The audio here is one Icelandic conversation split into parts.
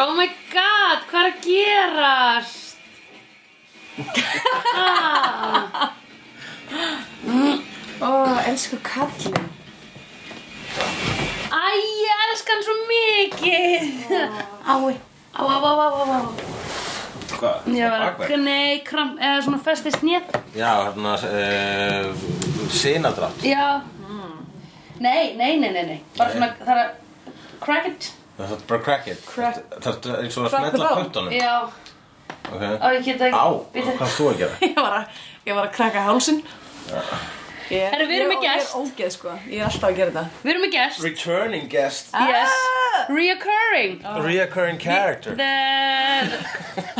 Oh að gerast? Ó, elsku kallin. Æ, ég elska hann svo mikið. Ái. Á, á, á, á, á, á. Hvað? Ég var að, Bakverk? nei, kram, eða svona festist nýtt. Já, hérna, uh, sinadrátt. Já. Hmm. Nei, nei, nei, nei, nei. Bara Nei. svona, það er að, crack it. Það er bara crack it. Crack- Það er eins og að Crack the smetla bone. puttunum. Já. Á, Ok. ég get ekki. Á, Bíddu. hvað er þú að gera? Ég var að, ég var að krakka hálsin. Ég, Herra, við erum ég- með gest. Ég er ógeð, sko. Ég er alltaf að gera þetta. Við erum með guest. Returning guest. Yes. Ah! Reoccurring. Reoccurring character. The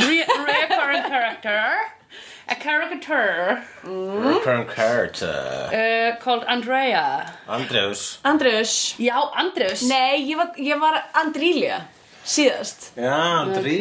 re reoccurring character. A caricature Reoccurring character. uh, called Andrea. Andreus. Andrius. Já, Andrews. Nei, ég var, ég var Andrília síðast. Já, Andri.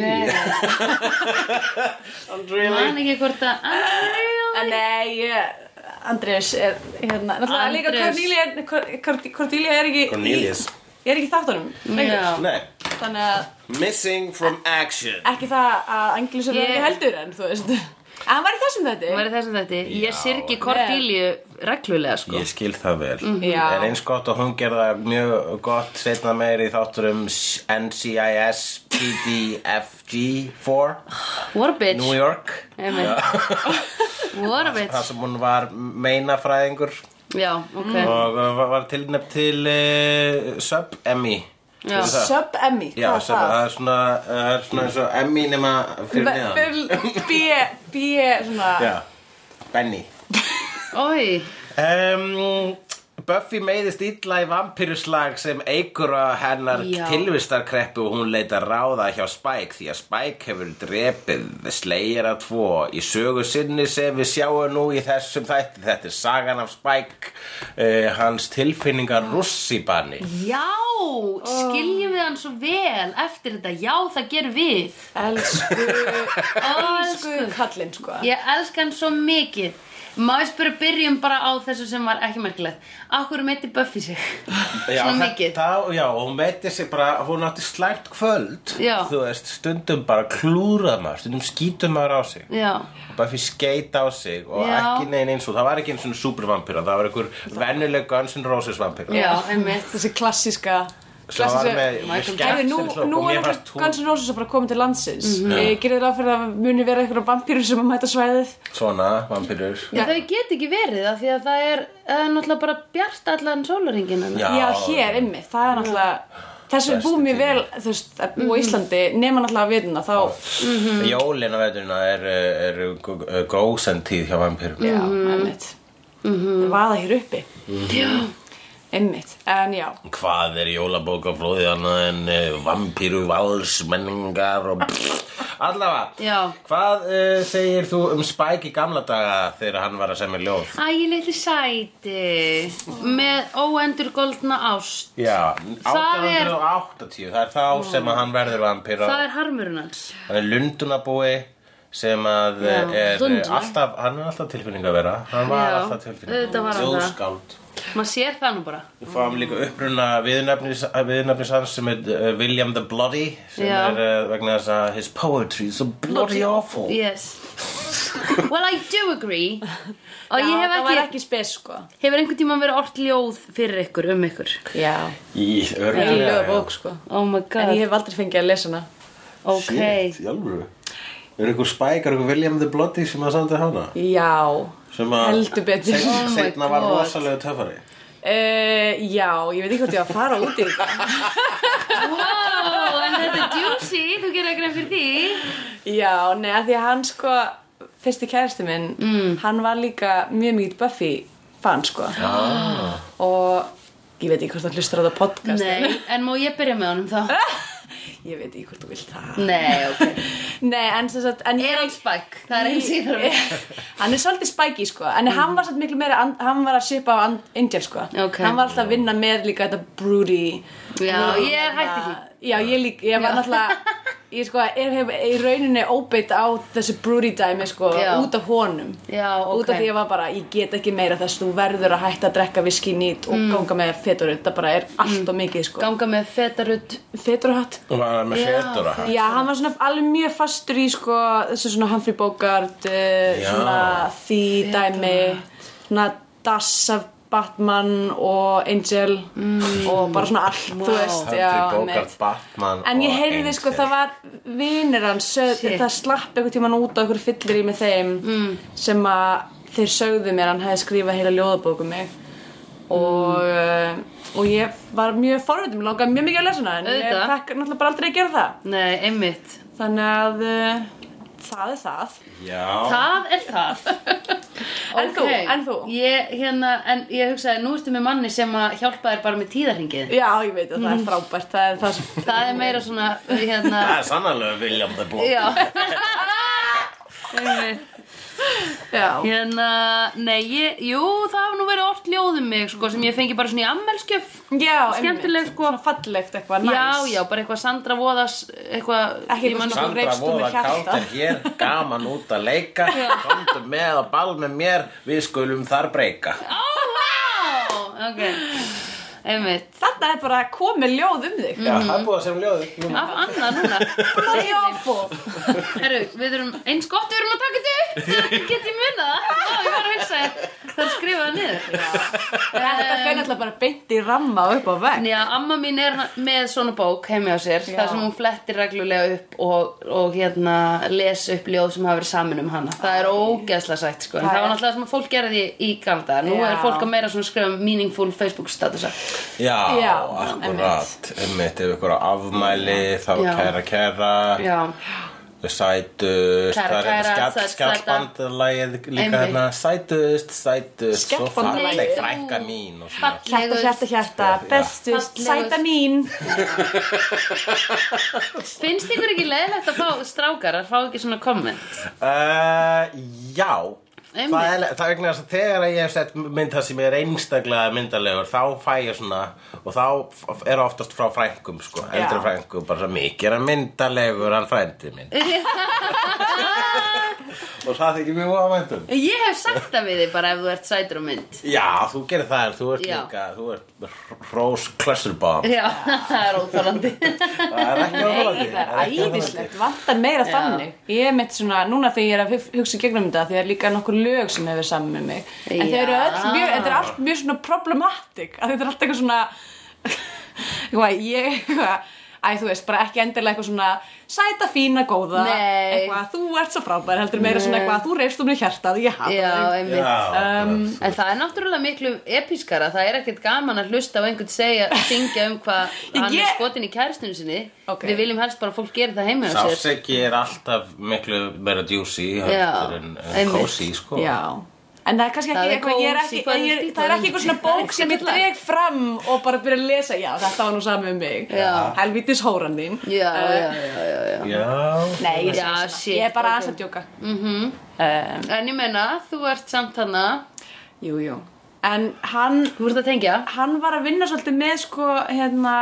Andri. Man ekki hvort að Andrea. En nei, ég... Andrius er hérna, náttúrulega líka Andrés. Cornelia, er- Cor- Cor- Cordelia er ekki Cornelius. í, er ekki í þáttunum lengur. Já. Nei. þannig að Missing from action. ekki það að Anglisar Ég- yeah. verði heldur en þú veist að hann var í þessum þetta Það væri þessum þetta. Ég Já. syrki Cordelia reglulega, sko. Ég skil það vel Mm-hmm. Já. En eins gott og hún gerða mjög gott setna meir í þátturum NCIS PDFG4 What a New bitch. York Einmitt. What a Það bitch. sem hún var meinafræðingur Já, ok. og uh, var var tilnefnd til uh, Sub-Emmy Já. Fyrir það. Sub Emmy, Já, hvað sem það er svona, það er svona eins og Emmy nema fyrir Be- neðan fyrir- B, E- B, svona Já, Benny Oi. um, Buffy meiðist illa í vampýruslag sem eigur á hennar Já. tilvistarkreppu og hún leitar ráða hjá Spike því að Spike hefur drepið slegjara tvo í sögu sinni sem við sjáum nú í þessum þætti þetta er sagan af Spike uh, hans tilfinningar russibanni Já, skiljum við hann svo vel eftir þetta. Já, það ger við. elsku Elsku. elsku kallinn sko Ég elska hann svo mikið. Má ég spyrja byrjum bara á þessu sem var ekki merkilegt. Akkur meiti Buffy sig? Já, Svona mikið. þetta- já, hún meiti sig bara, hún átti slæmt kvöld Já. Þú veist, stundum bara klúrað maður, stundum skýtum maður á sig Já. og bara fyrir skeit á sig og Já. ekki negin eins og það var ekki eins og supervampýra það var einhver vennuleg Guns N' Roses vampýra Já, einmitt. þessi klassíska sem var klassísku- með, með Michael Herri, skektin nú, og nú er mér náttúrulega fannst hún Guns N' Roses að fara að koma til landsins mm -hmm. Gerið ráð fyrir að það muni vera eitthvað vampýrur sem að mæta svæðið svona vampýrur Já. Þau get ekki verið af því að það er, það er náttúrulega bara bjart allan sólaringin hennar. Já. Já, hér, einmitt, það er náttúrulega Þess við Besti búum í tími. vel, þú veist, að Mhm. búa í Íslandi nema náttúrulega vituna, þá Mhm. Jólin á veturna er, er, er gósentíð hjá vampýrum Já, Mhm. einmitt Vaða hér uppi, Já. einmitt En já, Hvað er jólabókaflóðið annað en uh, vampíru, vals, menningar og Allavega, Já. hvað uh, segir þú um Spike í gamla daga þegar hann var að semja ljóð? Æ, ég litli sæti. Með óendur goldna ást. Já, Það er- 1880, það er þá sem að hann verður vampíra Það er harmurinn hans. Hann er lundunabúi sem að Já, eh, er lunduna. eh, alltaf, hann er alltaf tilfinning að vera hann var Já, alltaf tilfinning auðvitað var hann það. þjóðskáld Maður sér það nú bara. við fáum líka uppruna viðnefnis, viðnefnis hans sem er uh, William the Bloody sem Já. er uh, vegna þess að his poetry is so bloody awful Yes. Well, I do agree. Og já ég hef það var ekki, ekki spes, sko hefur einhvern tímann verið orð ljóð fyrir ykkur, um ykkur. Já, í það er örgulega lögabók, sko Oh my En god. ég hef aldrei fengið að lesa hana Ok. shit, jálfur er ykkur Spike, er ykkur William the Bloody sem að samdi hana Já, sem að Heldur betur. sein- Oh my seinna var God. rosalega töfari uh, já, ég veit ekki hvort ég var að fara út í þetta Wow, Oh, en þetta er juicy, þú gerir eitthvað fyrir því. Já, nei, að því að hann, sko, fyrsti kæristi minn Mm. Hann var líka mjög mikið Buffy fan, sko ah. Og ég veit ekki hvort hann hlustar á það podcast Nei, en má ég byrja með honum þá? Ég veit ekki hvort þú vilt það Nei, ok. Nei, en sem sagt en ég- Er hann spæk? Það er einn síður. Hann er svolítið spæki, sko En hann var svolítið miklu meira and- Hann var að svipa á and- Angel, sko Mm. Ok. Hann var alltaf að vinna með líka þetta broody Já, ég er hætti því. Já, ég líka Ég var náttúrulega ég sko er, hef í rauninni óbeitt á þessu broody dæmi sko Já. út af honum Já, ok. út af því ég var bara, ég get ekki meira þess þú verður að hætta að drekka viski nýtt og Mm. ganga með feturut, það bara er allt og mikið sko, Ganga með fetarutt feturuhatt Hún var með Já. fjöldura Já, hann var svona alveg mjög fastur í sko, þessu svona Humphrey Bogart uh, Já. svona því dæmi svona Das af Batman og Angel Mm. og bara svona allt, þú veist já, Humphrey Bogart, einmitt. Batman En ég og heyrði sko, Angel. það var vinir hans, sög, Shit. það slapp einhvern tíman út á einhver fyllir í með þeim sem að þeir sögðu mér, hann hefði skrifað heila ljóðabók um mig og, uh, og ég var mjög forvitum, langaði mjög mikið að lesa hana en ég Auðvitað. fekk náttúrulega bara aldrei að gera það Nei, einmitt Þannig að uh, það er það. Já, Það er það En þú, Ókei. en þú? Ég, hérna, en ég hugsaði, nú ertu með manni sem að hjálpa þér bara með tíðarhingið Já, ég veit að það er frábært. Það er það sem... Það er meira svona, hérna það er sannarlega William the Blood Já Einmitt Já. Hérna, nei, ég, jú, það hafa nú verið orð ljóðum mig, sko, sem ég fengi bara svona í ammelskjöf. Já, Skemmtileg, einmitt. sko. Svona fallegt eitthvað, næs. Já, já, bara eitthvað Sandra Voðas, eitthvað... Ekki ég eitthvað man- svona- Þú Sandra reifst þú með voða hjarta. kátt er hér, gaman út að leika Komdu með að ball með mér Við skulum þar breyka Mhm. Ó, vá! Ok, einmitt. Þetta er bara komið ljóð um þig. Já, það er búið að sem ljóð Af annað núna. Það er jáfó. Herru, við erum eins gott við erum að taka þetta upp, þegar get ég muna það. Já, ég var að hugsa þér, það er skrifað niður. Þetta fer Um, náttúrulega bara beint í ramma og upp á vegg. Já, amma mín er með svona bók heimi á sér, Já. þar sem hún flettir reglulega upp og, og hérna les upp ljóð sem hafa verið saman um hana. Það er ógeðslega sætt, sko. En Það það var er- náttúrulega það sem að fólk gerði í Kanada. Nú Já. er fólk að meira svona skrifa um meaningful Facebook statusa. Já, Já, akkurat Einmitt ef ykkur á afmæli Þá Já. kæra kæra Já, Kæra, Sætust Það er kæra, hérna sæt, skjall- skjallbandalagið Einmitt. Líka hérna sætust, sætust Svo Skjallbandalag. falleg Nei, jú. frænka mín og svona. fallegur. Hjarta, hjarta, hjarta, bestust, Fallegust. sæta mín. Finnst ykkur ekki leiðilegt að fá strákar að fá ekki svona komment? Uh, já Einmitt. Það er, það er vegna þess að þegar ég hef sett mynd það sem er einstaklega myndalegur þá fæ ég svona og þá f- er oftast frá frængum sko, Já. eldri frængum bara svo mikið er hann myndalegur hann frændi minn og það þykir mjög um. að væntum Ég hef sagt það við þig bara ef þú ert sætur og mynd. Já, þú gerir það en þú ert Já. líka þú ert Rose Clusterbomb Já, það er óþálandi. það er ekki Nei, óþolandi, það er er ekki óþolandi. æðislegt, vantar meira þannig Ég er mitt svona, núna þegar ég er að hug- hugsa í gegnum þetta því það er líka nokkur lög sem hefur saman með mig En þau eru Já. öll mjög, þetta er allt mjög svona problematic að Þetta er allt eitthvað svona Eitthvað, ég, eitthvað Æ, þú veist, bara ekki endilega eitthvað svona sæta, fína, góða Nei. Eitthvað, þú ert svo frábær, heldur meira svona eitthvað Þú reifst um mig hjartað, ég hafa Já, þig. einmitt. Já, um, En það er náttúrulega miklu episkara, það er ekkert gaman að hlusta á einhvern segja, syngja um hvað Ég- hann er skotin í kæristinu sinni. Ok. Við viljum helst bara að fólk gera það heima á sér. Sáseggi er alltaf miklu meira djúsi Já, en, en einmitt. kósi sko. Já En það er kannski Það er ekki eitthvað, ég er kósí, ekki, hvað er ég, stíll? það er ekki eitthvað svona Það er bók sem ég skemmtilegt. dreg fram og bara byrja að lesa, já þetta var nú samið um mig, Já. helvítis hóran þín. Eh, Já, já, já, já, já. Já. Nei, ég, Já, já, shit, ég er bara ok. aðeins að djóka. Mm -hmm. En ég meina, þú ert samt hana, jú, jú. En hann, þú ert að tengja. hann var að vinna svolítið með sko, hérna,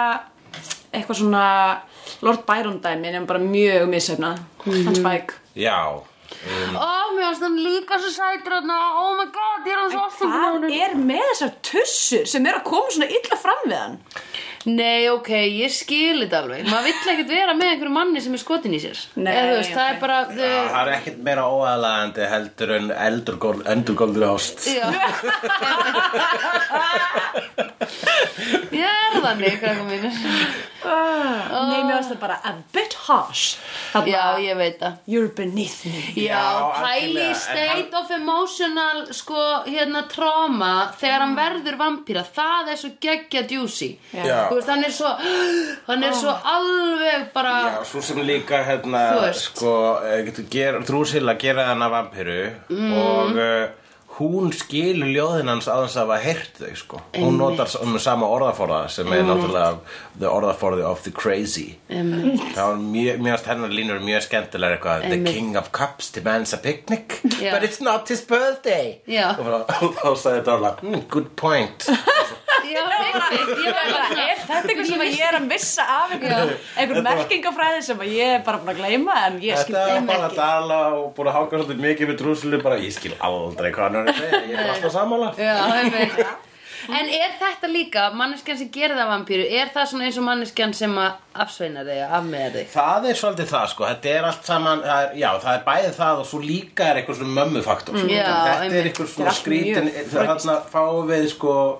eitthvað svona Lord Byron dæmi, en bara mjög misöfnað, Mhm. hans bæk. Já, Ó, mér varst hann líka svo sætur hana, oh my god, ég er hann svo ástofnum á Hvað honum. er með þessar tussur sem er að koma svona illa fram við hann? Nei, ok, ég skil þetta alveg. Maður vill ekkert vera með einhverju manni sem er skotin í sér. Nei, Eða, þú veist, það ok. er bara... eh, Þau, Já, það er ekkert meira óaðlaðandi heldur en eldurgól- endurgóldur ást Já Ég er þannig, krakka mínir Nei, mér varst það bara a bit harsh. Þarna, Já, ég veit það You're beneath me. Já, Já, pæli algjörlega, í en state of emotional sko, hérna, trauma þegar Mm. hann verður vampíra, það er svo geggja djúsi, Já. þú veist, hann er svo hann er svo alveg bara, Já, svo sem líka hérna Þú veist. sko, eh, getur ger, Drúsilla gera hana vampiru Mm. og uh, hún skilur ljóðin hans aðeins að hafa heyrt þau sko. hún Einmitt. notar um sama orðaforða sem er náttúrulega the orðaforði of the crazy um, Það var mjög, mjög hennar línur mjög skemmtilega eitthvað The Einmitt. king of cups demands a picnic Já. But it's not his birthday Já. Og bara- og þá sagði Darla, mm, good "Hmm, point já, það var fyndið. Ég var bara, Er þetta eitthvað sem að ég er að missa af einhver, einhver merkingafræði sem að ég er bara búin að gleyma en ég skil Þetta var þeim bara að ekki. dala og búin að háka svolítið mikið með trúslu bara ég skil aldrei hvað hann er að segja, ég er bara alltaf sammála Já, einmitt. En er þetta líka, manneskjan sem gerir það vampíru, er það svona eins og manneskjan sem að afsveinar þig, afmeðar þig? Það er svolítið það sko, þetta er allt saman, það er, já það er bæðið það og svo líka er eitthvað svona mömmufaktor sko. Mm, Já, Þetta er einmitt. Þetta eitthvað er svona allt skrítin, mjög þarna fáum við sko,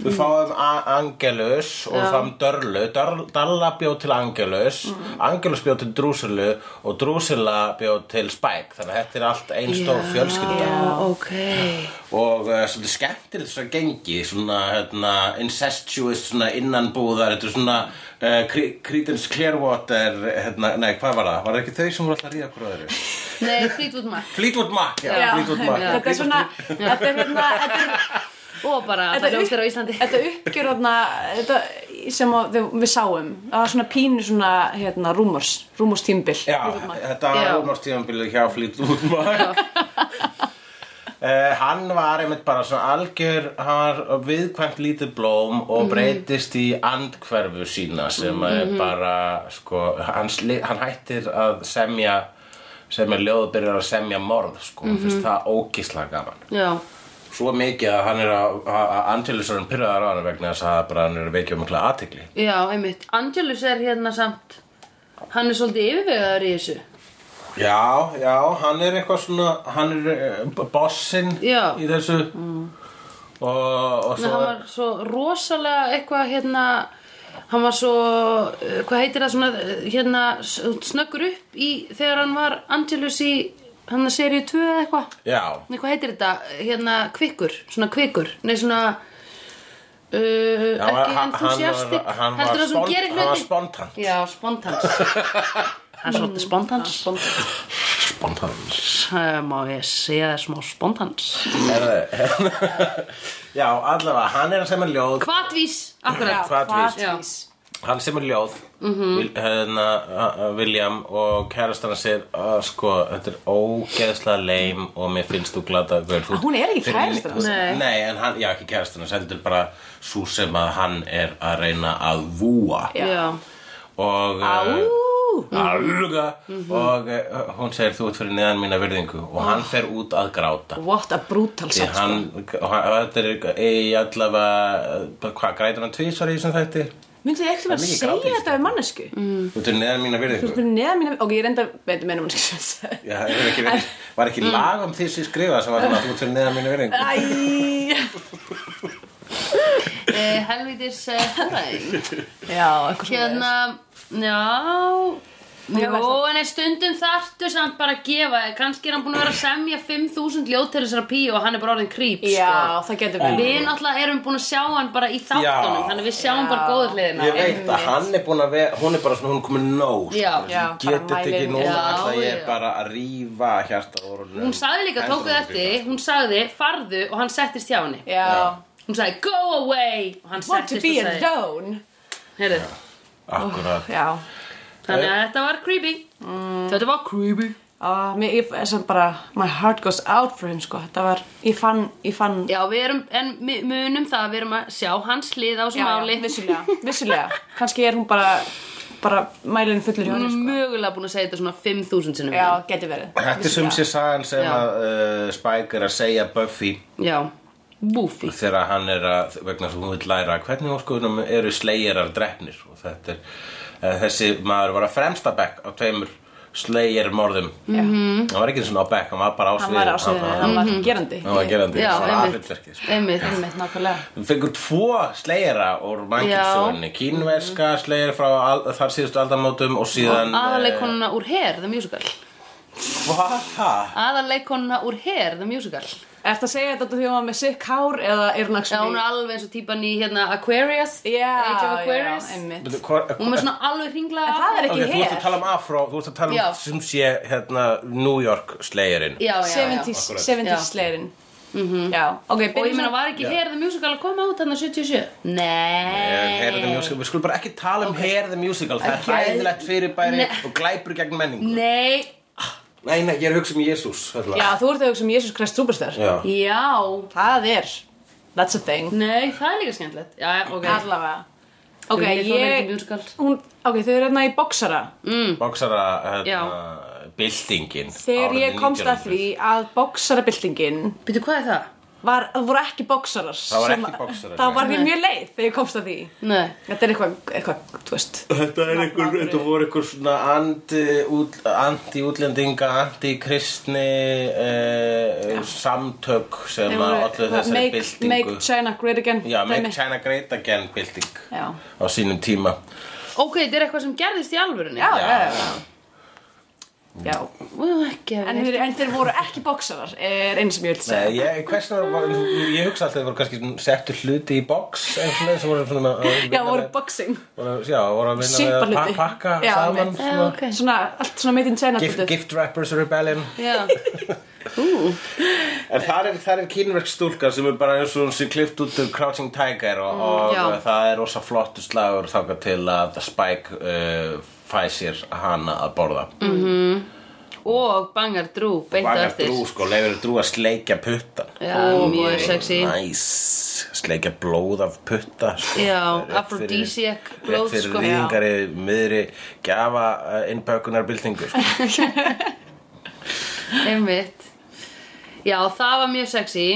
við fáum A- Angelus og fáum Dörlu, Dörl, Dalla bjóð til Angelus, Mm. Angelus bjóð til Drúsilu og Drúsila bjóð til Spike, þannig að þetta er allt einn stór fjölskylda Já, ok. og uh, svolítið skemmtilegt þess að gengi svona hérna, incestuous svona innanbúðar þetta er svona uh, Cre- Creedence Clearwater hérna, nei hvað var það, var það ekki þau sem voru alltaf að ríða hvort öðru Nei, Fleetwood Mac Fleetwood Mac, já, Já, Fleetwood Mac þetta er svona, þetta er hérna, þetta er, og bara þetta allar er hljómsveitir á Íslandi Þetta uppgjör hérna, þetta sem að við, við sáum, það var svona pínu svona, hérna, rúmors, rúmors tímbil. Já, þetta var Já. rúmarstíðanbilið hjá Fleetwood Mac Uh, hann var einmitt bara svona algjör hann var viðkvæmt lítið blóm og breytist í andhverfu sína sem er bara sko, hann, sli- hann hættir að semja semja ljóð byrjar að semja morð sko, mm finnst það ógisla gaman já, svo mikið að hann er að, að að Angelus er hann pyrraðar á hann vegna þess að bara hann er að veikja um mikla athygli já, einmitt Angelus er hérna samt hann er svolítið yfirvegaður í þessu Já, já, hann er eitthvað svona, hann er uh, bossinn Já. í þessu og, og Svo... svo hann var svo rosalega eitthvað hérna hann var svo, uh, hvað heitir það svona uh, hérna, s- snöggur upp í þegar hann var Angelus í hann að serið 2 eða eitthvað Já, Nei, hvað heitir þetta, hérna kvikur svona kvikur, nei svona Uh, hann var, ekki hann, hann enthusiastic var, hann var, heldur það sem spont, gerir hann var hluti spontan Já, spontans Hann er svolítið spontans Spontan Eh, Má ég segja það smá spontans Já, allavega, hann er að semja ljóð Hvatvís, akkurat Hvatvís. Hvatvís. Hann semur ljóð Vil- hérna, uh, uh, William og kærastan sér uh, sko, þetta er ógeðslega leim og mér finnst þú glata vel, þú, Hún er ekki kærastan hans. Nei. nei. nei, en hann, já ekki kærastan hans heldur bara svo sem að hann er að reyna að vúa Já. Já, og uh, Áú. Alga Mhm. og uh, hún segir þú ert fyrir neðan mína virðingu og Ah. hann fer út að gráta What a brutal Því set, sko. hann, og hann, þetta er eh, í allavega, uh, hvað, grætur hann tvísvar í þessum þætti? Myndið þið ekkert um Það að er mikið segja grátlýst. þetta við mannesku? Mm. Þú ert fyrir neðan mína virðingu Neða mínu, ok, ég reynda, veitum, meina mannesku sem Já, það hefur ekki verið, var ekki Mm. lag um því sem skrifa sem var svona þú til neðan mínu verðingu. Æ, eh, helvitis eh, húræðing já, eitthvað svona Hérna, já Já, Jó, það- en er stundum þarftu samt bara að gefa Kannski er hann búin að vera að semja 5.000 ljóð til þessara píu og hann er bara sko. orðin krýp Já, það getur verið Við náttúrulega erum búin að sjá hann bara í þáttunum Já. Þannig að við sjáum Já. bara góðu hliðina Ég veit að hann er búin að vera, hún er bara svona, hún er komin nóg. Já. Já, bara Getið þetta ekki mælin- núna, Já, alltaf ég er já. bara að rífa hjarta úr honum. Hún sagði líka, tókuð eftir, hún sagði farðu og hann settist hjá henni Já, Hún sagði go away og hann want to settist be og sagði alone Heyrðu, Akkurat. Já, Þannig Eh. að þetta var creepy Mm. Þetta var creepy Ah, mér, ég, sem bara, my heart goes out for him, sko, þetta var, ég fann, ég fann, Já, við erum, en mi- munum það, við erum að sjá hans hlið á þessu máli vissulega, vissulega, kannski er hún bara, bara mælinn fullur hjá Hún henni, er sko. mögulega búin að segja þetta svona 5.000 sinnum Já, getur verið. Þetta er sem sé sagan sem Já. að uh, Spike er að segja Buffy Já, Buffy þegar hann er að, vegna þess að hún vil læra hvernig óskuðunum eru slegjarar drefnir og þetta er, uh, þessi maður var að fremsta bekk á tveimur slegjar morðum. -hmm. Hann var ekki svona á bekk, hann var bara á Hann sviðinu. var á sviðinu, hann var Mhm. gerandi. Hann var gerandi, Já, svona einmitt. aðhlutverkið sko. Einmitt Einmitt, nákvæmlega. Við fengum tvo slegjara úr mannkynssögunni Kínverska slegjara frá al, þar síðustu aldamótum og síðan eh, Aðarleikonuna úr Hair, the musical Hvað það? Aðarleikonuna úr Hair, the musical Ertu að segja þetta út af því að hún var með sick hár eða er hún Já, hún actually... er alveg eins og típan í hérna Aquarius Já, Age of já, Aquarius einmitt. Bíddu, hvar- Hún er með svona alveg hringla En það er Ok, ekki þú ert að hér. tala um afró, þú ert að tala um Já. sem sé hérna New York slegjarinn Já, já, já 70s, Akkurat. 70s Já. slegirinn. Já, ok, Og ég byrjum meina, var ekki Hair, the musical að koma út hann 77? Eh, Hair the Nei Musical, við skulum bara ekki tala um Hair the Musical, það er hæðilegt fyrirbæri Nei. og glæpur gegn menningu Nei Nei, nei, ég er að hugsa um Jésús Já, þú ert að hugsa um Jesus Christ Superstar. já. Já Það er That's a thing Nei, það er líka skemmtilegt Já, já, ok Allavega Ok, Þau vilja fá mig til ég musical. hún, Ok, þau eru hérna í boksara Bóksara Já. hérna, byltingin Þegar árið ég komst að 1900. því að boksarabildingin Býtu, hvað er það? var, það voru ekki boksarar Það voru sem- ekki boxarar, Það var nei. ég mjög leið þegar ég komst að því Nei Þetta er eitthvað, eitthvað, þú veist Þetta er einhver, þetta voru einhver svona anti-útlendinga, anti-kristni eh, samtök sem að allir þessari make, byltingu make China great again Já, Make dæmi. China Great Again bylting Já. á sínum tíma Ok, þetta er eitthvað sem gerðist í alvörunni Já, já, já, já. Mm. Ú, Ekki að En, við þeir, en þeir voru ekki boksarar er einu sem ég vil segja Nei, ég, hversna, ég hugsa alltaf að það voru kannski settu hluti í box einhvern veginn sem voru svona að vinna Já, voru með- boxing voru- Já, voru að vinna Sippa með að hluti. pa- pakka Já, saman einmitt. Já, svona, ok Svona, allt svona made in China gift, dótið. gift Rappers Rebellion Já En þar er, þar er kínverk stúlka sem er bara eins og hún sé klift út úr Crouching Tiger og, og Mm, já. það er rosa flottu slagur þangað til að Spike uh, fæ sér hana að borða mm, Og bangar drú, beint á Bakar eftir drú sko, leifir drú að sleikja puttan Já, Ó, mjög boy. sexy Næs, sleikja blóð af putta sko. Já, Rétt fyrir- aphrodisiac blóð, Rétt fyrir sko. viðingari miðri gjafa uh, innbökunarbyltingu sko. Einmitt Já, það var mjög sexy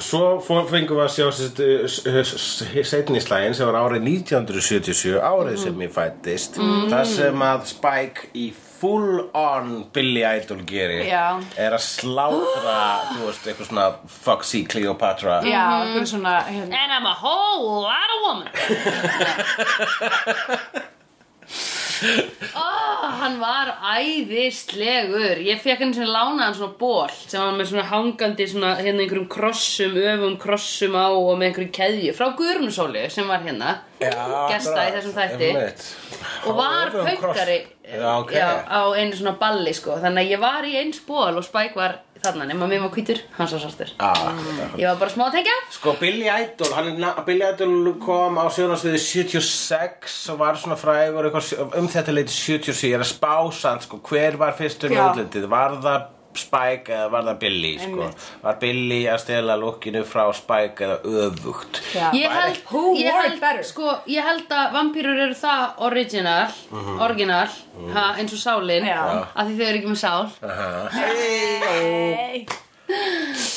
Svo fó- fengum við að sjá sérst, uh, s- s- s- seinni slægin sem var árið 1977, árið sem ég fættist mm. Það sem að Spike í full on Billy Idol gerir Já. Er að slátra, þú veist, eitthvað svona Foxy Cleopatra Já, Mhm. einhverju svona hérna. And I'm a whole lot of woman oh, Hann var æðislegur Ég fekk hann sem lánaðan svona ból sem var með svona hangandi svona hérna einhverjum krossum, öfum krossum á og með einhverjum keðju frá Guðrunusóli sem var hérna gesta í þessum þætti og var pöngari Já, ok já, á einu svona balli sko þannig að ég var í eins ból og Spike var þarna nema mér var hvítur, hann svo svartur Já, ég var bara smá að tengja Sko Billy Idol, hann, er na- Billy Idol kom á sjónarsviði 76 og var svona frægur eitthvað, sjö- um þetta leiti 77, ég er að spá sann sko, hver var fyrstur með Já. útlendið, var það Spike eða var það Billy sko, Einmitt. var Billy að stela lukkinu frá Spike eða öfugt Já. ég held, Who ég wore it held, better? sko, ég held að vampýrur eru það original, original ha, eins og sálin Já. Mhm. Já. af því þau eru ekki með sál Hey,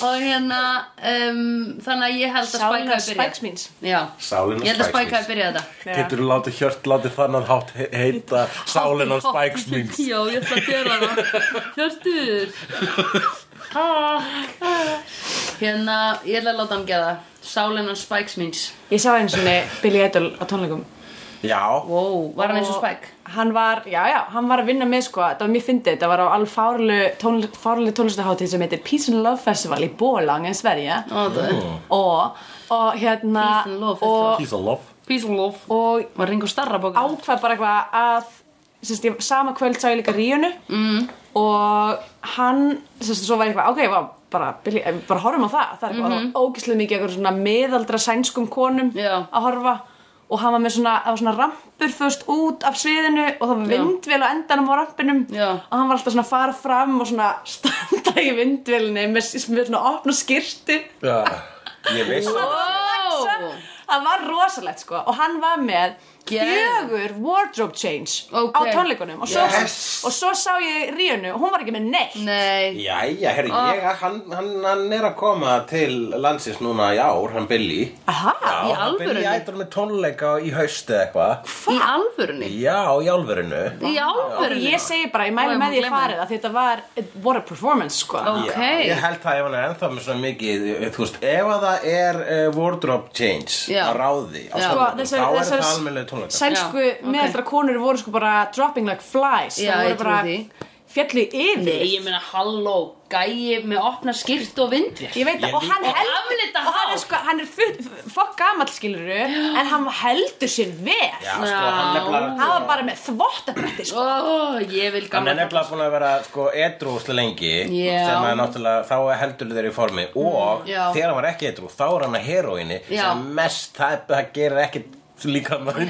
og hérna um, þannig að ég held að Sálin Spike af hafi byrjað Spikes means Já, Sálin af ég held að Spikes Spike hafi means. byrjað þetta Getur þú látið hjört, látið þannan hátt he- heita sálinn á Spike Smith Já, ég ætla að gera það Hjörtur Ha. Hérna, ég ætla að láta hann gera það Sálinn og Spikes míns Ég sá einu sinni Billy Idol á tónleikum Já, Wow, var hann eins og Og Spike? Hann var, já já, hann var að vinna með sko Það var mjög fyndið, þetta var á alveg fárlu tónl, fárlu tónlistaháttíð sem heitir Peace and Love Festival í Bólang en Sverige Ó, það er og, og hérna Peace and Love og, he's a love Peace and love og Var Ringo Starra bóka? ákvað bara eitthvað að sérst, ég, sama kvöld sá ég líka Ríunu mm. og hann sérst, svo var ég eitthvað, ok, vá, bara, Billy, eh, bara horfum á það, það er eitthvað mm ógislega mikið eitthvað svona meðaldra sænskum konum Mhm. Já. að horfa og hann var með svona, það var svona rampur fyrst út af sviðinu og það var Já. vindvél á endanum á rampinum Já. og hann var alltaf svona að fara fram og svona standa í vindvélinni með, með svona opna skirti Já, ég veist Wow Það var rosalegt sko og hann var með Geðveikt. fjögur wardrobe change Ok. á tónleikunum og svo, Yes. og svo sá ég Ríunu og hún var ekki með neitt Nei Jæja, herri, ég, hann, hann, hann er að koma til landsins núna í ár, hann Billy Aha, Já, Í hann alvörunni? Billy Idol með tónleika í haustu eitthvað Í alvörunni Já, í alvörinu Í alvörunni ég segi bara, ég mæli Ó, ég má með því að gleyma farið að þetta var, what a performance sko Ó. Já, Ok. Ég held það ef hann er ennþá með svona mikið eh, Þú veist, ef að það er uh, wardrobe change Já. að ráði á Já. Sko, tónleikum, þessar- þá er þessar það almennlega tónleika Sænsku Já, ok. meðaldra konur voru sko bara dropping like flies Já, það ég voru trúi bara því. fjallu yfir Nei, ég meina halló Gæi með opna skýrt og vindvél Ég veit Ég það, og hann líka- heldur, Aflita og hann er hár. sko, hann er full- fokk gamall skiluru, en hann heldur sér vel. Já, sko, hann Hann nefnilega var bara með þvottabretti, sko. Ó, ég vil Hann gamla er nefnilega búin að vera sko edru úslega lengi Já. sem að náttúrulega þá heldur þeir í formi Mm, og Já. þegar hann var ekki edru þá er hann að heroinni Já. sem mest það, það gerir ekki líka maður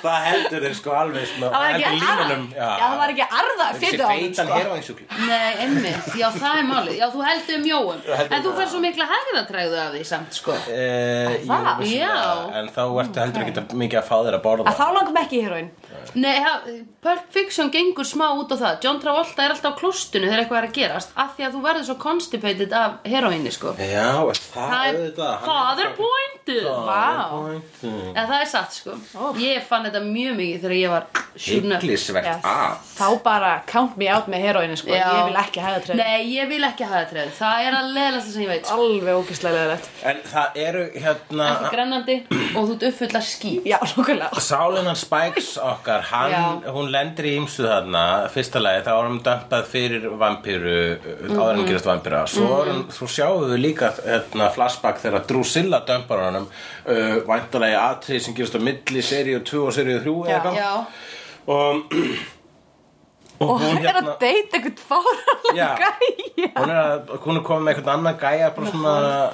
það heldur þeir sko alveg Það svona- var ekki heldur arð, línunum já, það var ekki arð verða fyrir á honum, feitan sko. heroinsjúkling Nei, einmitt, já það er málið Já, þú heldur um jóum En þú fær svo mikla hægðatræðu af því samt, sko Uh, það? Já. en þá ertu heldur ekki mikið að fá þér að borða Að þá langum ekki í heroin Nei, ha, Pulp Fiction gengur smá út á það John Travolta er alltaf á klóstunu þegar eitthvað er að gerast af því að þú verður svo constipated af heroinni, sko Já, er Ah. Það er, það Ah, auðvitað það er pointið Vá point Já, það er satt, sko Ég fann þetta mjög mikið þegar ég var sjúna Hygglisvert Yes. af Þá bara count me out með heroinu sko Já. Ég vil ekki hæða treyð Nei, ég vil ekki hafa þetta Það er að leðast það sem ég veit sko. Alveg ógislega leðilegt En það eru hérna Ekki grennandi og þú ert uppfulla ský Já, nokkulega Sálinan Spikes okkar, hann, Já. hún lendir í ýmsu þarna, fyrsta lagi, þá er hann dömpað fyrir vampíru, mm áður en hún gerist vampíra. Svo, mm hann, svo sjáum við líka hérna, flashback þegar Drusilla dömpar honum, uh, væntalegi atrið sem gerist á milli seríu 2 og seríu 3 eða Já. eitthvað. Já, Og, og, hérna- Og hann er að deyta einhvern Já. fáranlega gæja hún er, að, hún er komið með einhvern annan gæja bara svona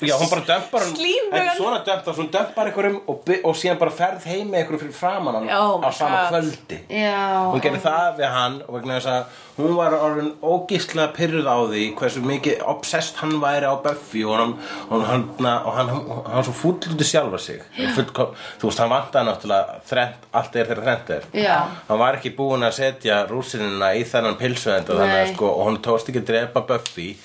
já, hún bara dömpar hann Slímugan. þetta er svona dömpt að hún dömpar einhverjum og, by- og síðan bara ferð heim með einhverjum fyrir framan hann Oh my á sama God. kvöldi hún já gerði það við hann og vegna þess að hún var orðin ógísla pyrruð á því hversu mikið obsessed hann væri á Buffy og hann, hann, hann, og hann, hann, hann svo fúlluti sjálfa sig Fullkom, þú veist, hann vantaði náttúrulega þrent, allt er þegar þrent er Já. hann var ekki búinn að setja rússinina í þennan pilsuðenda þannig að Nei. sko, og hann tókst ekki að drepa Buffy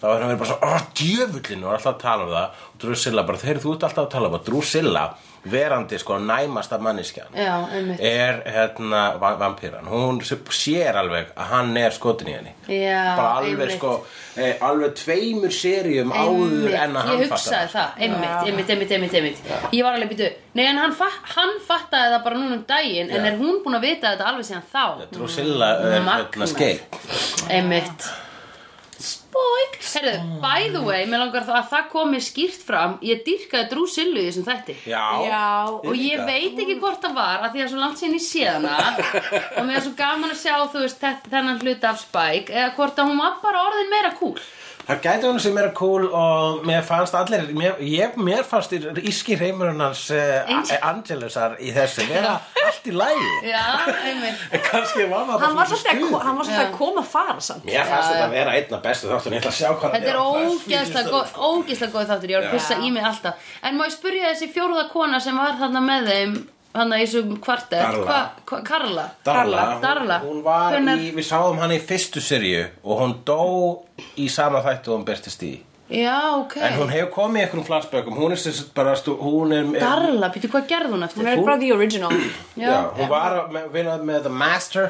þá var hann verið bara svo, oh, djöfullin og var alltaf að tala um það og Drusilla bara, þeir þú ert alltaf að tala um það Drusilla, verandi sko næmasta manneskjan Já, einmitt er hérna va- vampíran hún s- sér alveg að hann er skotin í henni Já, bara alveg einmitt. sko eh, alveg tveimur seríum áður en að hann ég hugsaði fattar. sko. það, einmitt, einmitt, einmitt, einmitt, einmitt. ég var alveg býtu, nei en hann, fa hann fattaði það bara núna um daginn en Já. er hún búin að vita þetta alveg síðan þá Drusilla er Magnað. hérna skeik einmitt spoik, herru, by the way mér langar það að það komi skýrt fram ég dýrkaði drúsillu í þessum þætti já, Já. og ég líka. veit ekki hvort það var að því að svo langt síðan ég séð hana og mér er svo gaman að sjá þú veist þe- þennan hluta af Spike eða hvort að hún var bara orðin meira cool það gæti hún sem er cool og mér fannst allir mér, ég, mér fannst í- íski reymurinn hans eh, Angel- A- Angelusar í þessu vera allt í lægi já, einmitt en kannski var það bara Hann var svolítið svolítið að, stuð. ko- hann var svolítið að koma að fara samt mér fannst þetta vera einna bestu þáttur ég ætla að sjá hvað Þetta er Já, það ógeðslega góð, ógeðslega góð þáttur, ég var að pissa í mig alltaf En má ég spyrja þessi fjórða kona sem var þarna með þeim Þannig að ég svo kvartet Darla. hva, Karla Darla, Darla, Darla. Hún, hún var Hvenær- í, við sáum hann í fyrstu sirju og hún dó í sama þættu og hún byrtist í Já, ok en hún hefur komið í einhverjum flashbökum hún er sem sagt bara, stú- hún er Darla, býtu hvað gerði hún eftir Hún er bara the original já, hún var að me- vinna með The Master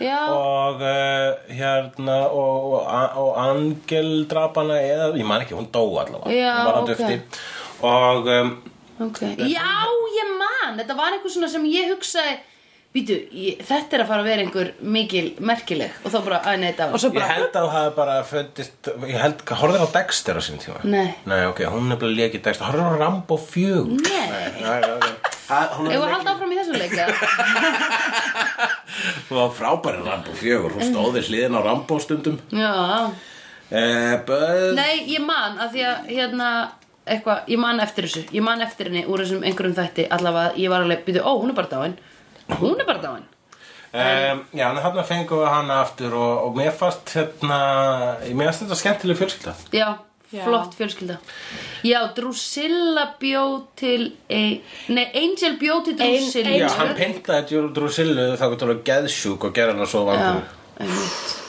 Já, og uh, hérna og, og, og Angel drapana eða, ég man ekki, hún dó allavega Já, hún ok. var að dufti og um, ok Já, ég man, þetta var eitthvað svona sem ég hugsaði Býtu, ég, þetta er að fara að vera einhver mikil merkileg Og þá bara, að nei, þetta Og var svo ég bara held að hún hafi bara fundist, ég held, horfður á Dexter á sín tíma? Nei. Nei, ok, hún er bara lekið Dexter, horfður á Rambo 4 Nei, Nei, nei, nei. Ha- Hún ef að er halda áfram í þessu leika hún var frábæri Rambo 4 Hún stóði hliðin á Rambo stundum Já, eh, Böð Nei, ég man að því að hérna eitthvað, ég man eftir þessu, ég man eftir henni úr þessum einhverjum þætti allavega, ég var alveg býtu, ó, hún er bara dáin hún er bara dáin um, Já, en þarna fengum við hana aftur Og, og mér fannst hérna Mér fannst þetta skemmtileg fjölskylda já, Já. flott fjölskylda já, Drusilla bjó til ein, nei, Angel bjó til Drusilla Já, hann pyntaði Djúru Drusillu þá gott alveg geðsjúk og gerði hana svo vampíru einmitt.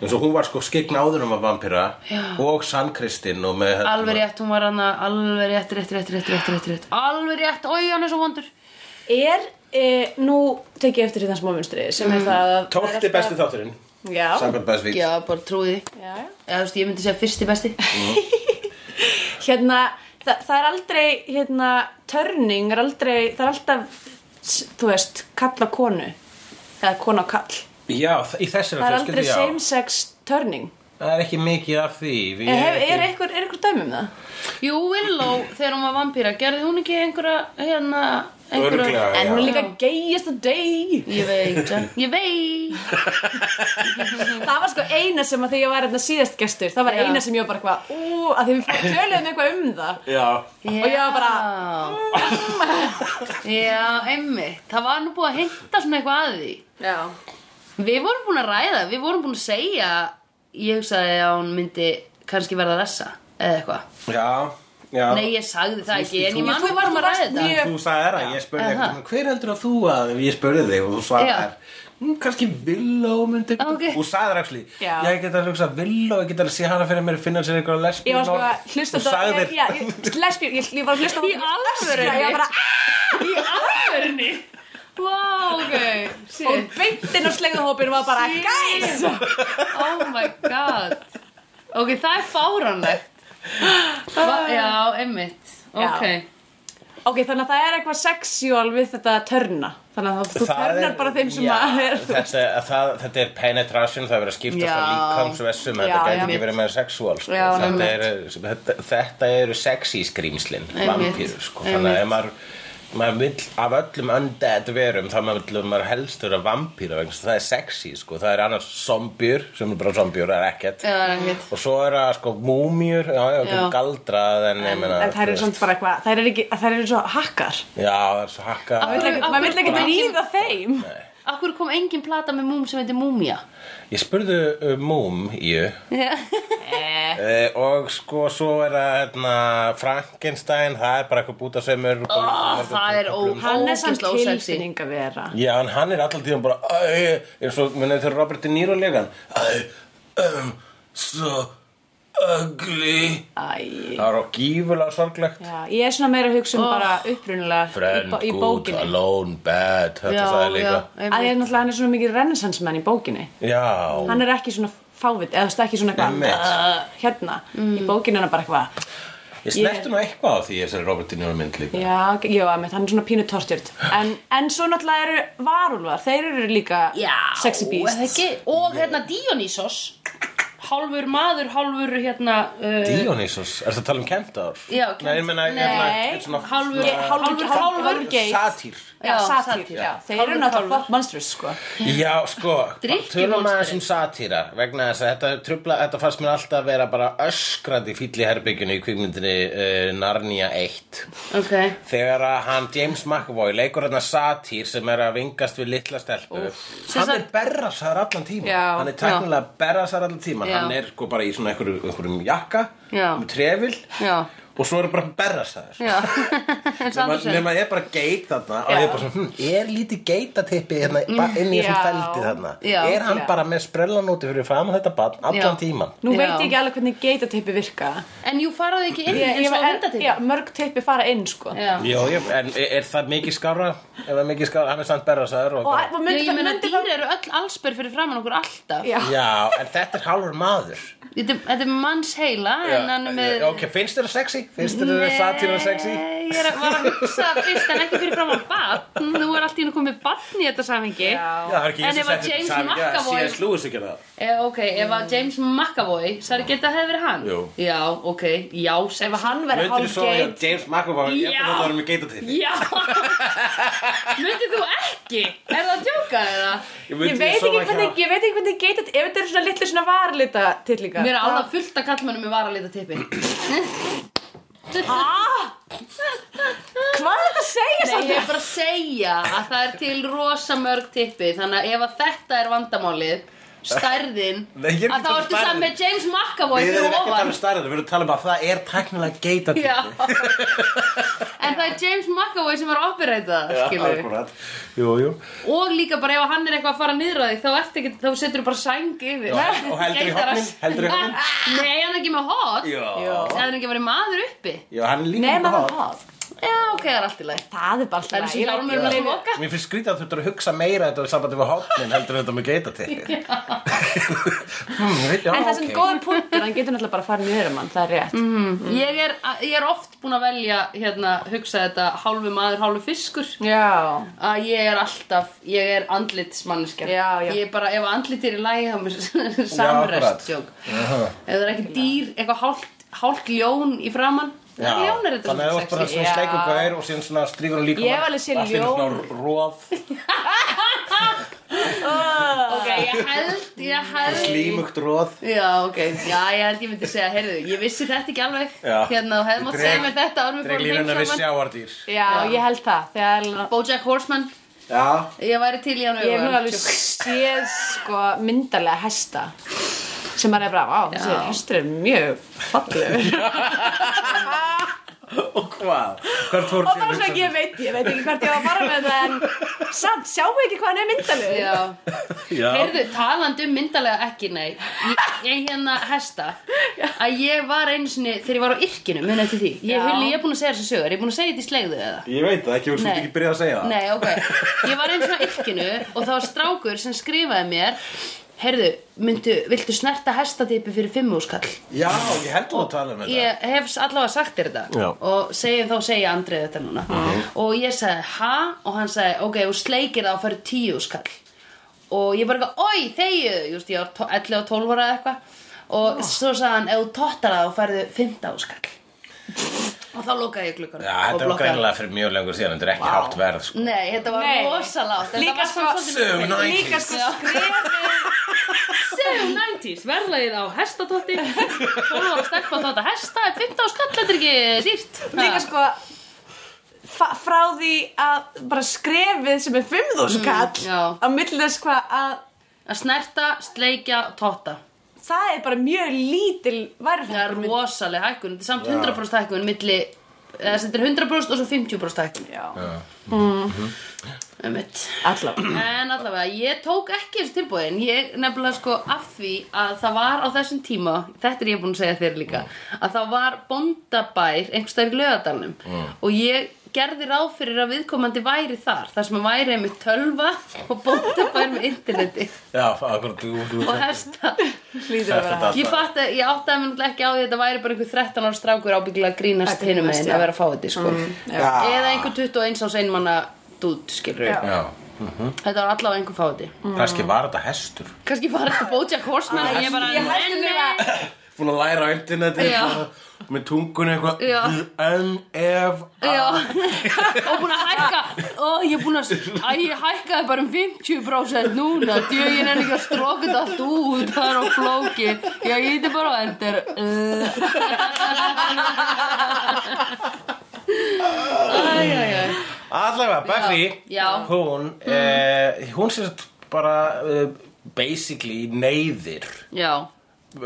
En svo hún var sko skegn áður um að vampíra Já. Og sannkristinn og með hérna, alveg rétt, hún var hann alveg rétt, rétt, rétt, rétt, rétt, rétt, rétt alveg rétt, oi, hann er svo vondur Er, e, nú tekið ég eftir í þann smámunstri sem Mm. er það að Tólfti besti þátturinn Já, Samkvæmt best vít já, bara trúði því já, já Já, þú veist, ég myndi segja fyrsti besti hérna, þa það er aldrei hérna, törning er aldrei, það er alltaf s- þú veist, kalla konu eða kona á kall Já, þ- í það þessari er fjölskyldu, aldrei já same sex törning Það er ekki mikið af því Við- er, Eh, hef, ég- er eitthvað, er eitthvað dæmi um það? Jú, Willow, þegar hún var vampýra, gerði hún ekki einhverja, hérna, einhverja... Örugglega, en hún er líka Já. gayest a day Ég veit, það. ég veit. það var sko eina sem að þegar ég var hérna síðast gestur það var Já. eina sem ég var bara eitthvað ú, að því við töluðum eitthvað um það Já, Og ég var "Mm." Já, emmi, það var nú búið að hinta svona eitthvað að því. já, Við vorum búin að ræða, við vorum búin að segja Ég hugsaði að hún myndi kannski verða ressa Eða eitthvað Já, já Nei, ég sagði það ekki En þú- ég man við vorum að ræða þetta mjög- Þú sagði það, ég spurði Aha. eitthvað Hver heldur að þú að Ég spurði þig og þú Já. svarði þær "Hm, Kannski Villó myndi Ah, ok. Þú sagði þær actually Já. Ég get að hugsa Villó, ég get að sé hana fyrir mér Finna sér eitthvað lesbíu Ég var sko að hlusta Þú sagði ég, já, ég, lesbíu, ég, ég var að hlusta á- Í alvörunni? Já, Ég var bara Í alvörni Wow, ok Og Shit. beintinn og slegðuhópin var bara Guys! Oh my god Ok, það er fáranlegt Va Já, einmitt Já. Ok Ok, þannig að það er eitthvað sexual við þetta að törna Þannig að þú törnar bara þeim sem já, að er þetta, það, þetta er penetration, það er verið að skiptast á Já. líkamsvessum Þetta Já, gæti einmitt. ekki verið meira sexual sko. Já, þetta, einmitt. er, þetta, þetta eru sexy skrýmslin Einmitt. vampýrur sko. Þannig að Einmitt. ef maður maður vill, af öllum undead verum þá maður, maður helst vera vampýra vegna þess að það er sexy, sko, það er annars zombjur, sem er bara zombjur, það er ekkert Já, einmitt og svo er það sko múmjur já, já, Já. galdrað en, en, meina, En þær eru samt bara eitthvað Þær eru, ekki, þær eru svo hakkar já, það er svo hakka Af hverju- Maður vill ekki Bara- ríða þeim Akkur kom engin plata með múm sem heitir Múmia ég spurði um múm í Já. Eh, og sko, svo er það hérna, Frankenstein, það er bara eitthvað bútasömmur Ah, það er ó- Hann er samt Ógeðslega ósexy. tilfinning að vera Já, en hann er alltaf tíðan bara "Æ", eins og, munið þegar Robert De Niro legan I am so ugly Æ Það er á gífulega sorglegt Já, ég er svona meira að hugsa um Oh. bara upprunulega í, Friend, bó- í good, bókinni alone, bad Þetta Já, sagði líka já, að ég er einmitt náttúrulega hann er svona mikið renaissance mann í bókinni Já, hann er ekki svona fávit eða þú veist, ekki svona Einmitt. eitthvað uh, hérna, Mm. í bókinni er hann bara eitthvað ég snerti nú eitthvað á því í þessari Robert De Niro mynd líka já, ok, já, emitt, hann er svona pínu tortjört en, en svo náttúrulega eru varulvar þeir eru líka Já, sexy eða beasts ekki? Og hérna Dionysos Hálfur maður, hálfur hérna uh, Dionysos, er það að tala um Kentaur? Já, Nei, ég meina, hérna, Nei, einn svona- hálfur- svona- Hálfur- hálfur geit Satýr já, Já, satýr, satír. já, þeir Hálfur eru náttúrulega kálfur. flott monsters sko Já, sko, bara Drykkjumonsterin. tölum aðeins um satýra vegna þess að þetta, trubla, þetta fannst mér alltaf að vera bara öskrandi fýll í herbyggjunni í kvikmyndinni uh, Narnia 1 Ok þegar að hann James McAvoy leikur hérna satýr sem er að vingast við litla stelpu Sem hann er sagt- berrasaður allan tíma Já, hann er tæknilega berrasaður allan tíma Já. hann er sko bara í svona einhverjum, einhverjum jakka Já. með trefil Já. og svo er hann bara berrasaður Já nema Sanderson. nema ég er bara geit þarna og ég er bara svona, hm, er lítið geitatippi hérna, ba- inn í þessum Já. feldi þarna Já. er hann Já. bara með sprellanóti fyrir fram þetta barn allan Já. tíman nú Já. veit ég ekki alveg hvernig geitateipi virka En jú faraði ekki inn ég, eins ég, og en, hundatippi já, mörg teipi fara inn sko Já. Jó, ég, en e- er er það mikið skára? Ef það er mikið skára, hann er samt berrasaður og, og, og Já, myndi Ég það meina myndi dýr það eru öll allsber fyrir framann okkur alltaf Já. Já, en þetta er hálfur maður Þetta er- þetta er manns heila Já, eh, En hann er með Ok, finnst þér það sexy? Finnst þér það satíra sexy? Nei, ég er að- var að hugsa fyrst en ekki fyrir framann barn Nú er allt í hennu komið barn í þetta samhengi Já. Já, það er ekki En ég ef sem að setti James saman Já, McAvoy- C.S. Lewis ekki það Eh, ok, ef að James McAvoy, sagði ekki að þetta hefði verið hann? Jú. Já, ok, já, ef sem að hann verið Möndur svo, já, hálfgeit James McAvoy Ég Já. held að það var með geitatippi Já! Myndið þú ekki? Er það að djóka eða? Ég veit ekki hérna- hvernig, ég veit ekki hvernig geitat, ef þetta eru svona litlu svona varlita tillingar. Mér er alveg fullt að kallmennum með varalita tippi. Hvað er þetta að segja Nei, ég samt? er bara að segja að það er til rosa mörg tippi, þannig að ef að þetta er vandamálið, stærðin, Nei, ég er að ekki þá að tala um ertu saman stærðin. með James McAvoy Við erum fyrir ekki að tala ofan. um starrið, við erum að tala um að það er tæknilega geitatippi Já. En það er James McAvoy sem er að operata, skilur við. Akkurat, jú, jú Og líka bara ef hann er eitthvað að fara niður að þig þá, ert ekki, þá setur þú bara sæng yfir Já, og heldur í Geitar að- Ah, hornin, heldur í hornin. Nei, hann er ekki með hot Já. Það er hann ekki verið maður uppi Já, hann er líka Nei, með maður hár. hvað? Já, ok, það er allt í lagi Það er bara alltaf. Það er þessi hjálmur með loka Mér finnst skrítið að þú ert að hugsa meira þetta við sambandi við hotnin heldur en þetta með geitatippi hmm, ég veit, já, En það sem ok. góður punktur, hann getur náttúrulega bara að fara niður um hann, það er rétt. Mm, ég er, ég er oft búin að velja hérna, hugsa þetta hálfu maður, hálfu fiskur Já. að ég er alltaf, ég er andlitsmanneskja Já, já. Ég er bara, ef andlit er í lagi þá er mér akkurat. samrest joke. Ef það er ekki dýr, eitthvað hálft hálft ljón í framann Já, ljón er þetta þannig að þú ert bara sexy. svona Já. sleikur gaur og síðan svona strífur hún líka Ég hef alveg séð ljón. svona róð, Ok, ég held, ég held slímugt róð Já, ok, já, ég held ég myndi segja, heyrðu, ég vissi þetta ekki alveg Já. Hérna, þú hefði mátt Dreg- segja mér þetta árum við Dreg fórum heim línunar við saman sjáardýr Já, ég held það, þegar Bojack Horseman Já, Ég væri til í hann Ég hef nú öfugan. alveg Tjók. séð sko myndarlega hesta sem maður er bara, vá, þessi Já. hestur er mjög fallegur og hvað? Hvert fór og bara svona, ég veit, ég veit ekki hvert ég á að fara með það en samt, sjáum við ekki hvað hann er myndarlegur Já, Já, heyrðu, talandi um myndalega ekki, nei Ég, ég hérna hesta Að ég var einu sinni, þegar ég var á yrkinu, muni eftir því Ég, Já. hulli, ég er búin að segja þessu sögur, ég er búin að segja þetta í slegðu eða ég veit það ekki, þú Nei. svolítið ekki byrjað að segja það Nei, ok, ég var einu sinni á yrkinu Og það var strákur sem skrifaði mér Heyrðu, myndu, viltu snerta hestatipi fyrir fimmúskall? Já, ég held þú að tala um þetta Ég hef allavega sagt þér þetta Já. og segi, þá segja Andrið þetta núna Mhm. og ég sagði ha og hann sagði ok, þú sleikir það og fyrir tíu skall og ég bara eitthvað, oi, þegju just ég var tó- 11 og 12 ára eða eitthvað og svo sagði hann, ef þú tottar það og færðu 15 skall og þá lokaði ég klukkan Já, þetta var greinlega fyrir mjög lengur síðan, þetta er ekki hátt verð sko. Nei, þetta var Nei. rosalátt Líka sko- Sögur Sögum næ- líka sko Já. skrifið 90s, verðlagið á hestatótti 12 ára stelpa að tóta hesta 15 skall, þetta er ekki dýrt líka sko fa- frá því að bara skrefið sem er 5.000 Mm, kall já. á milli þess hvað að Að snerta, sleikja, totta það er bara mjög lítil Það er værið rosaleg hækkun, þetta er samt 100% hækkun milli, eða þetta er 100% og svo 50% hækkun Já, um mitt. allavega En allavega, ég tók ekki þessu tilbúin Ég nefnilega sko af því að það var á þessum tíma Þetta er ég búin að segja þér líka Að það var bóndabær einhvers staðar í lögadalnum Og ég gerði ráð fyrir að viðkomandi væri þar Þar sem að væri með tölva og bóndabær með interneti Já, akkur, þú, þú Og hesta hlýtur að vera Ég fatt að ég áttaði mér náttúrulega ekki á því að þetta væri bara einhver 13 ára strákur ábyggilega að grínast Að hinum grínast, meginn já. að vera að fá þetta sko. Já, Eða einhver 21 árs einmanna dút skilur Já. já Þetta var allavega einhver fá þetta. Kannski var þetta hestur Kannski var þetta Bojack Horseman og ég bara Ég hætti nenni. mér að Fúin að læra á interneti Já. bara Með tungun eitthvað Já. En ef Já, og búin að hækka Ó, ég er búin að, að ég hækkaði bara um 50% núna Djögin er ekki að stróka þetta allt út Það er á flóki Já, ég íti bara á Uh. endur Æjæjæ Allavega, Buffy, Já. Mm. hún, eh, hún sér bara eh, basically neyðir Já,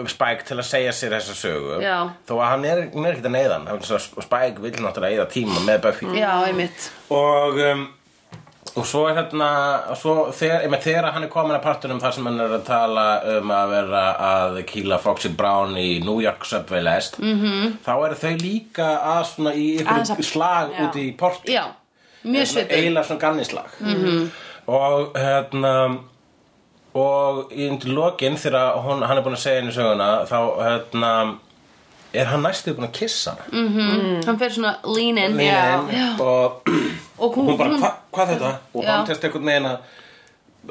Spike til að segja sér þessa sögu Já. þó þó að hann er, hún er ekkert að neyðan Spike vil náttúrulega eða tíma með Buffy já, einmitt og um, og svo er hérna svo þegar, eme, þegar hann er komin að partunum þar sem hann er að tala um að vera að kýla Foxy Brown í New York Subway lest -hmm. þá eru þau líka að svona í Mhm. Aðeins að- einhverjum slag Já. Mhm. úti í porti Já, mjög svipið eiginlega svona gannislag -hmm. og hérna og í undir lokin þegar hún, hann er búin að segja henni söguna þá hérna er hann næstu búin að kissa mm, Hann fer svona lean in Já. og Og hún, hún, hún bara, hva, hvað þetta? og Já. hann testa einhvern veginn að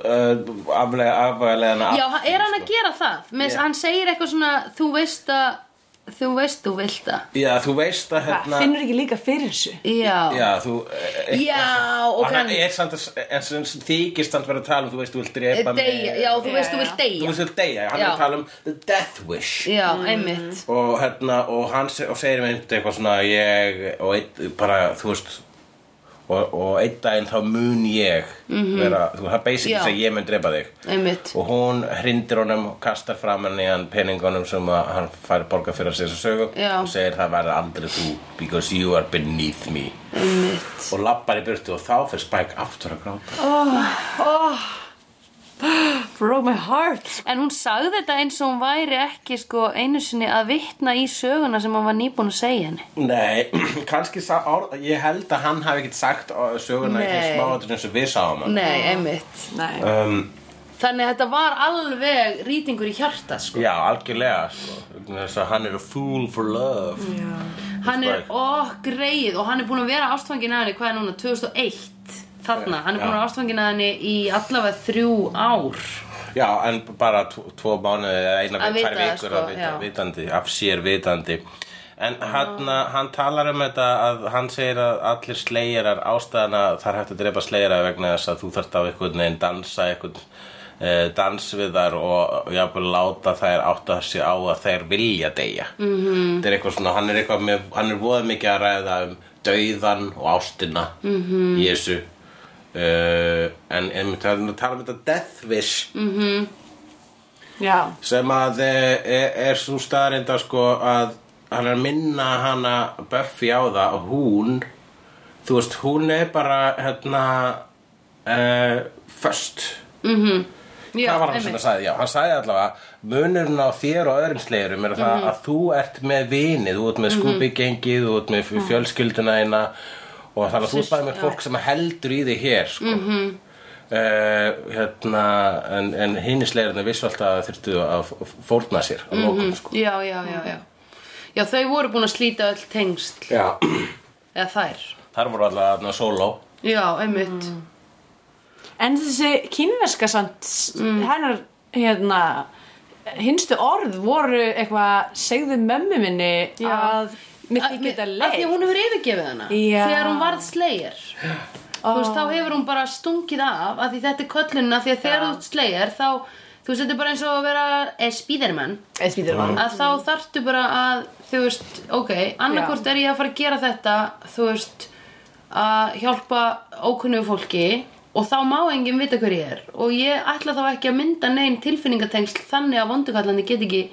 uh, aflega, aflega hana af- Já, hann- er hann sko. að gera það? Með, Já. Hann segir eitthvað svona, þú veist að Þú veist, þú vilt að já, þú veist að Hvað, hérna finnur ekki líka fyrir þessu Já, já, þú e, Já, og hann hann- er samt að en sem þykist hann verið að tala um þú veist, þú vilt drepa mig deyja, já þú Já, veist, þú já. vilt þú deyja veist, þú vilt deyja, hann er Já. að tala um the death wish Já, einmitt og hérna og hann se- og segir mér eitthvað svona ég og einn bara þú veist og, og einn daginn þá mun ég vera, þú það er basically Mhm. Já. að ég mun drepa þig Einmitt og hún hrindir honum og kastar fram hann í hann peningunum sem að hann fær borga fyrir sér sögu Já. og segir það verði aldrei þú because you are beneath me Einmitt og lappar í burtu og þá fyrir Spike aftur að gráta Broke my heart En hún sagði þetta eins og hún væri ekki sko einu sinni að vitna í söguna sem hann var nýbúin að segja henni Nei, kannski sá, á, ég held að hann hafi ekkert sagt á söguna í Nei. smáðurinn sem við sáum hann. Nei, einmitt Nei um, Þannig að þetta var alveg rýtingur í hjarta sko Já, algjörlega sko. Vegna þess að Hann er a fool for love Hann er Spike. okk greið og hann er búin að vera ástfangin að henni hvað er núna, 2001 Þarna, hann er búin að vera ástfangin að henni í allavega þrjú ár Já, en bara tvo, tvo mánuði eða eina Að tvær vita það, vikur sko, að vita, já. vitandi, af sér vitandi En hann, hann talar um þetta að hann segir að allir slegjarar ástæðana þar hægt að drepa slegjara vegna þess að þú þarft á einhvern veginn dansa einhvern eh, dans við þar og jafnvel láta þær átta sig á að þær vilja deyja mm Mhm. -hmm. er eitthvað svona, hann er eitthvað Mhm. með, hann er voða mikið að ræða um dauðan og ástina mm -hmm. Jésu uh, en en það er að tala um þetta Death Wish Já, sem að eh, er, er svo staðreinda sko að hann er að minna hana Buffy á það og hún þú veist, hún er bara hérna uh, föst Já, það var hann einmitt. sem það sagði, já, hann sagði allavega munurinn á þér og öðrum sleirum er Mhm. það að þú ert með vinið þú ert með skúpigengið, þú ert með f- fjölskylduna eina og þannig að þú ert bara með fólk sem heldur í þig hér sko. mm Mhm. -hmm. hérna, en, en hinn í sleirinu vissu alltaf að þurftu að f- fórna sér á mókum sko. já, já, já, já Já, þau voru búin að slíta öll tengsl já. Eða þær þar voru alltaf þarna sóló Já, einmitt en þessi kínverska samt, Mm. hennar, hérna, hinstu orð voru eitthvað, segðu mömmu minni Já. að mér Að- þykir þetta mér- Af leið. því að hún hefur yfirgefið hana Já. Þegar hún varð slegir Þú veist, þá hefur hún bara stungið af af Því þetta er köllunna, því að þegar þú ert slegir Þá, þú veist, þetta er bara eins og að vera eh, Spiderman Eða spýtur hann. Að þá þarftu bara að, þú veist, ok Annarkvort er ég að fara að gera þetta Þú veist, að hjálpa ókunnugu fólki Og þá má enginn vita hver ég er Og ég ætla þá ekki að mynda neinn tilfinningatengsl Þannig að vondukallandi get ekki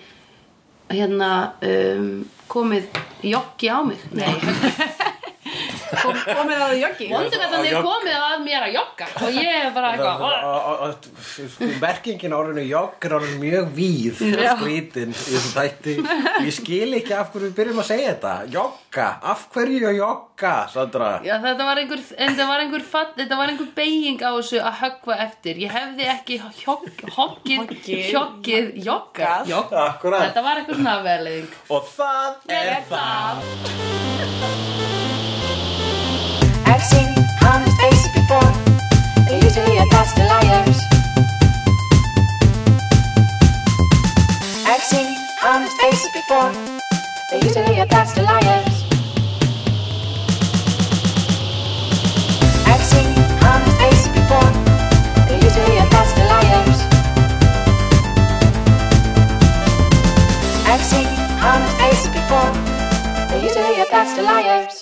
Hérna um, Komið joggi á mig Nei, Kom, komið á því joggi. Vondugallandi er jogga. komið að mér að jogga og ég er bara Og- eitthvað og- og- og- sko, merkingin á orðinu jogg er orðin mjög víð Já. og skrítin í þessu þætti ég skil ekki af hverju við byrjum að segja þetta jogga, af hverju að jogga Sandra Já, þetta var einhver, en þetta var einhver, fatt, þetta var einhver beiging á þessu að höggva eftir. Ég hefði ekki hogg- hoggið, Hoggið. hjoggið, jogga. Joggað. Jogga. Akkurat, Þetta var eitthvað svona aðverðing. og það er það I've seen honest faces before. They're usually a pass to liars. I've seen honest faces before. They're usually a pass to liars. I've seen honest faces before. They're usually a pass to liars. I've seen honest faces before. They're usually a pass to liars.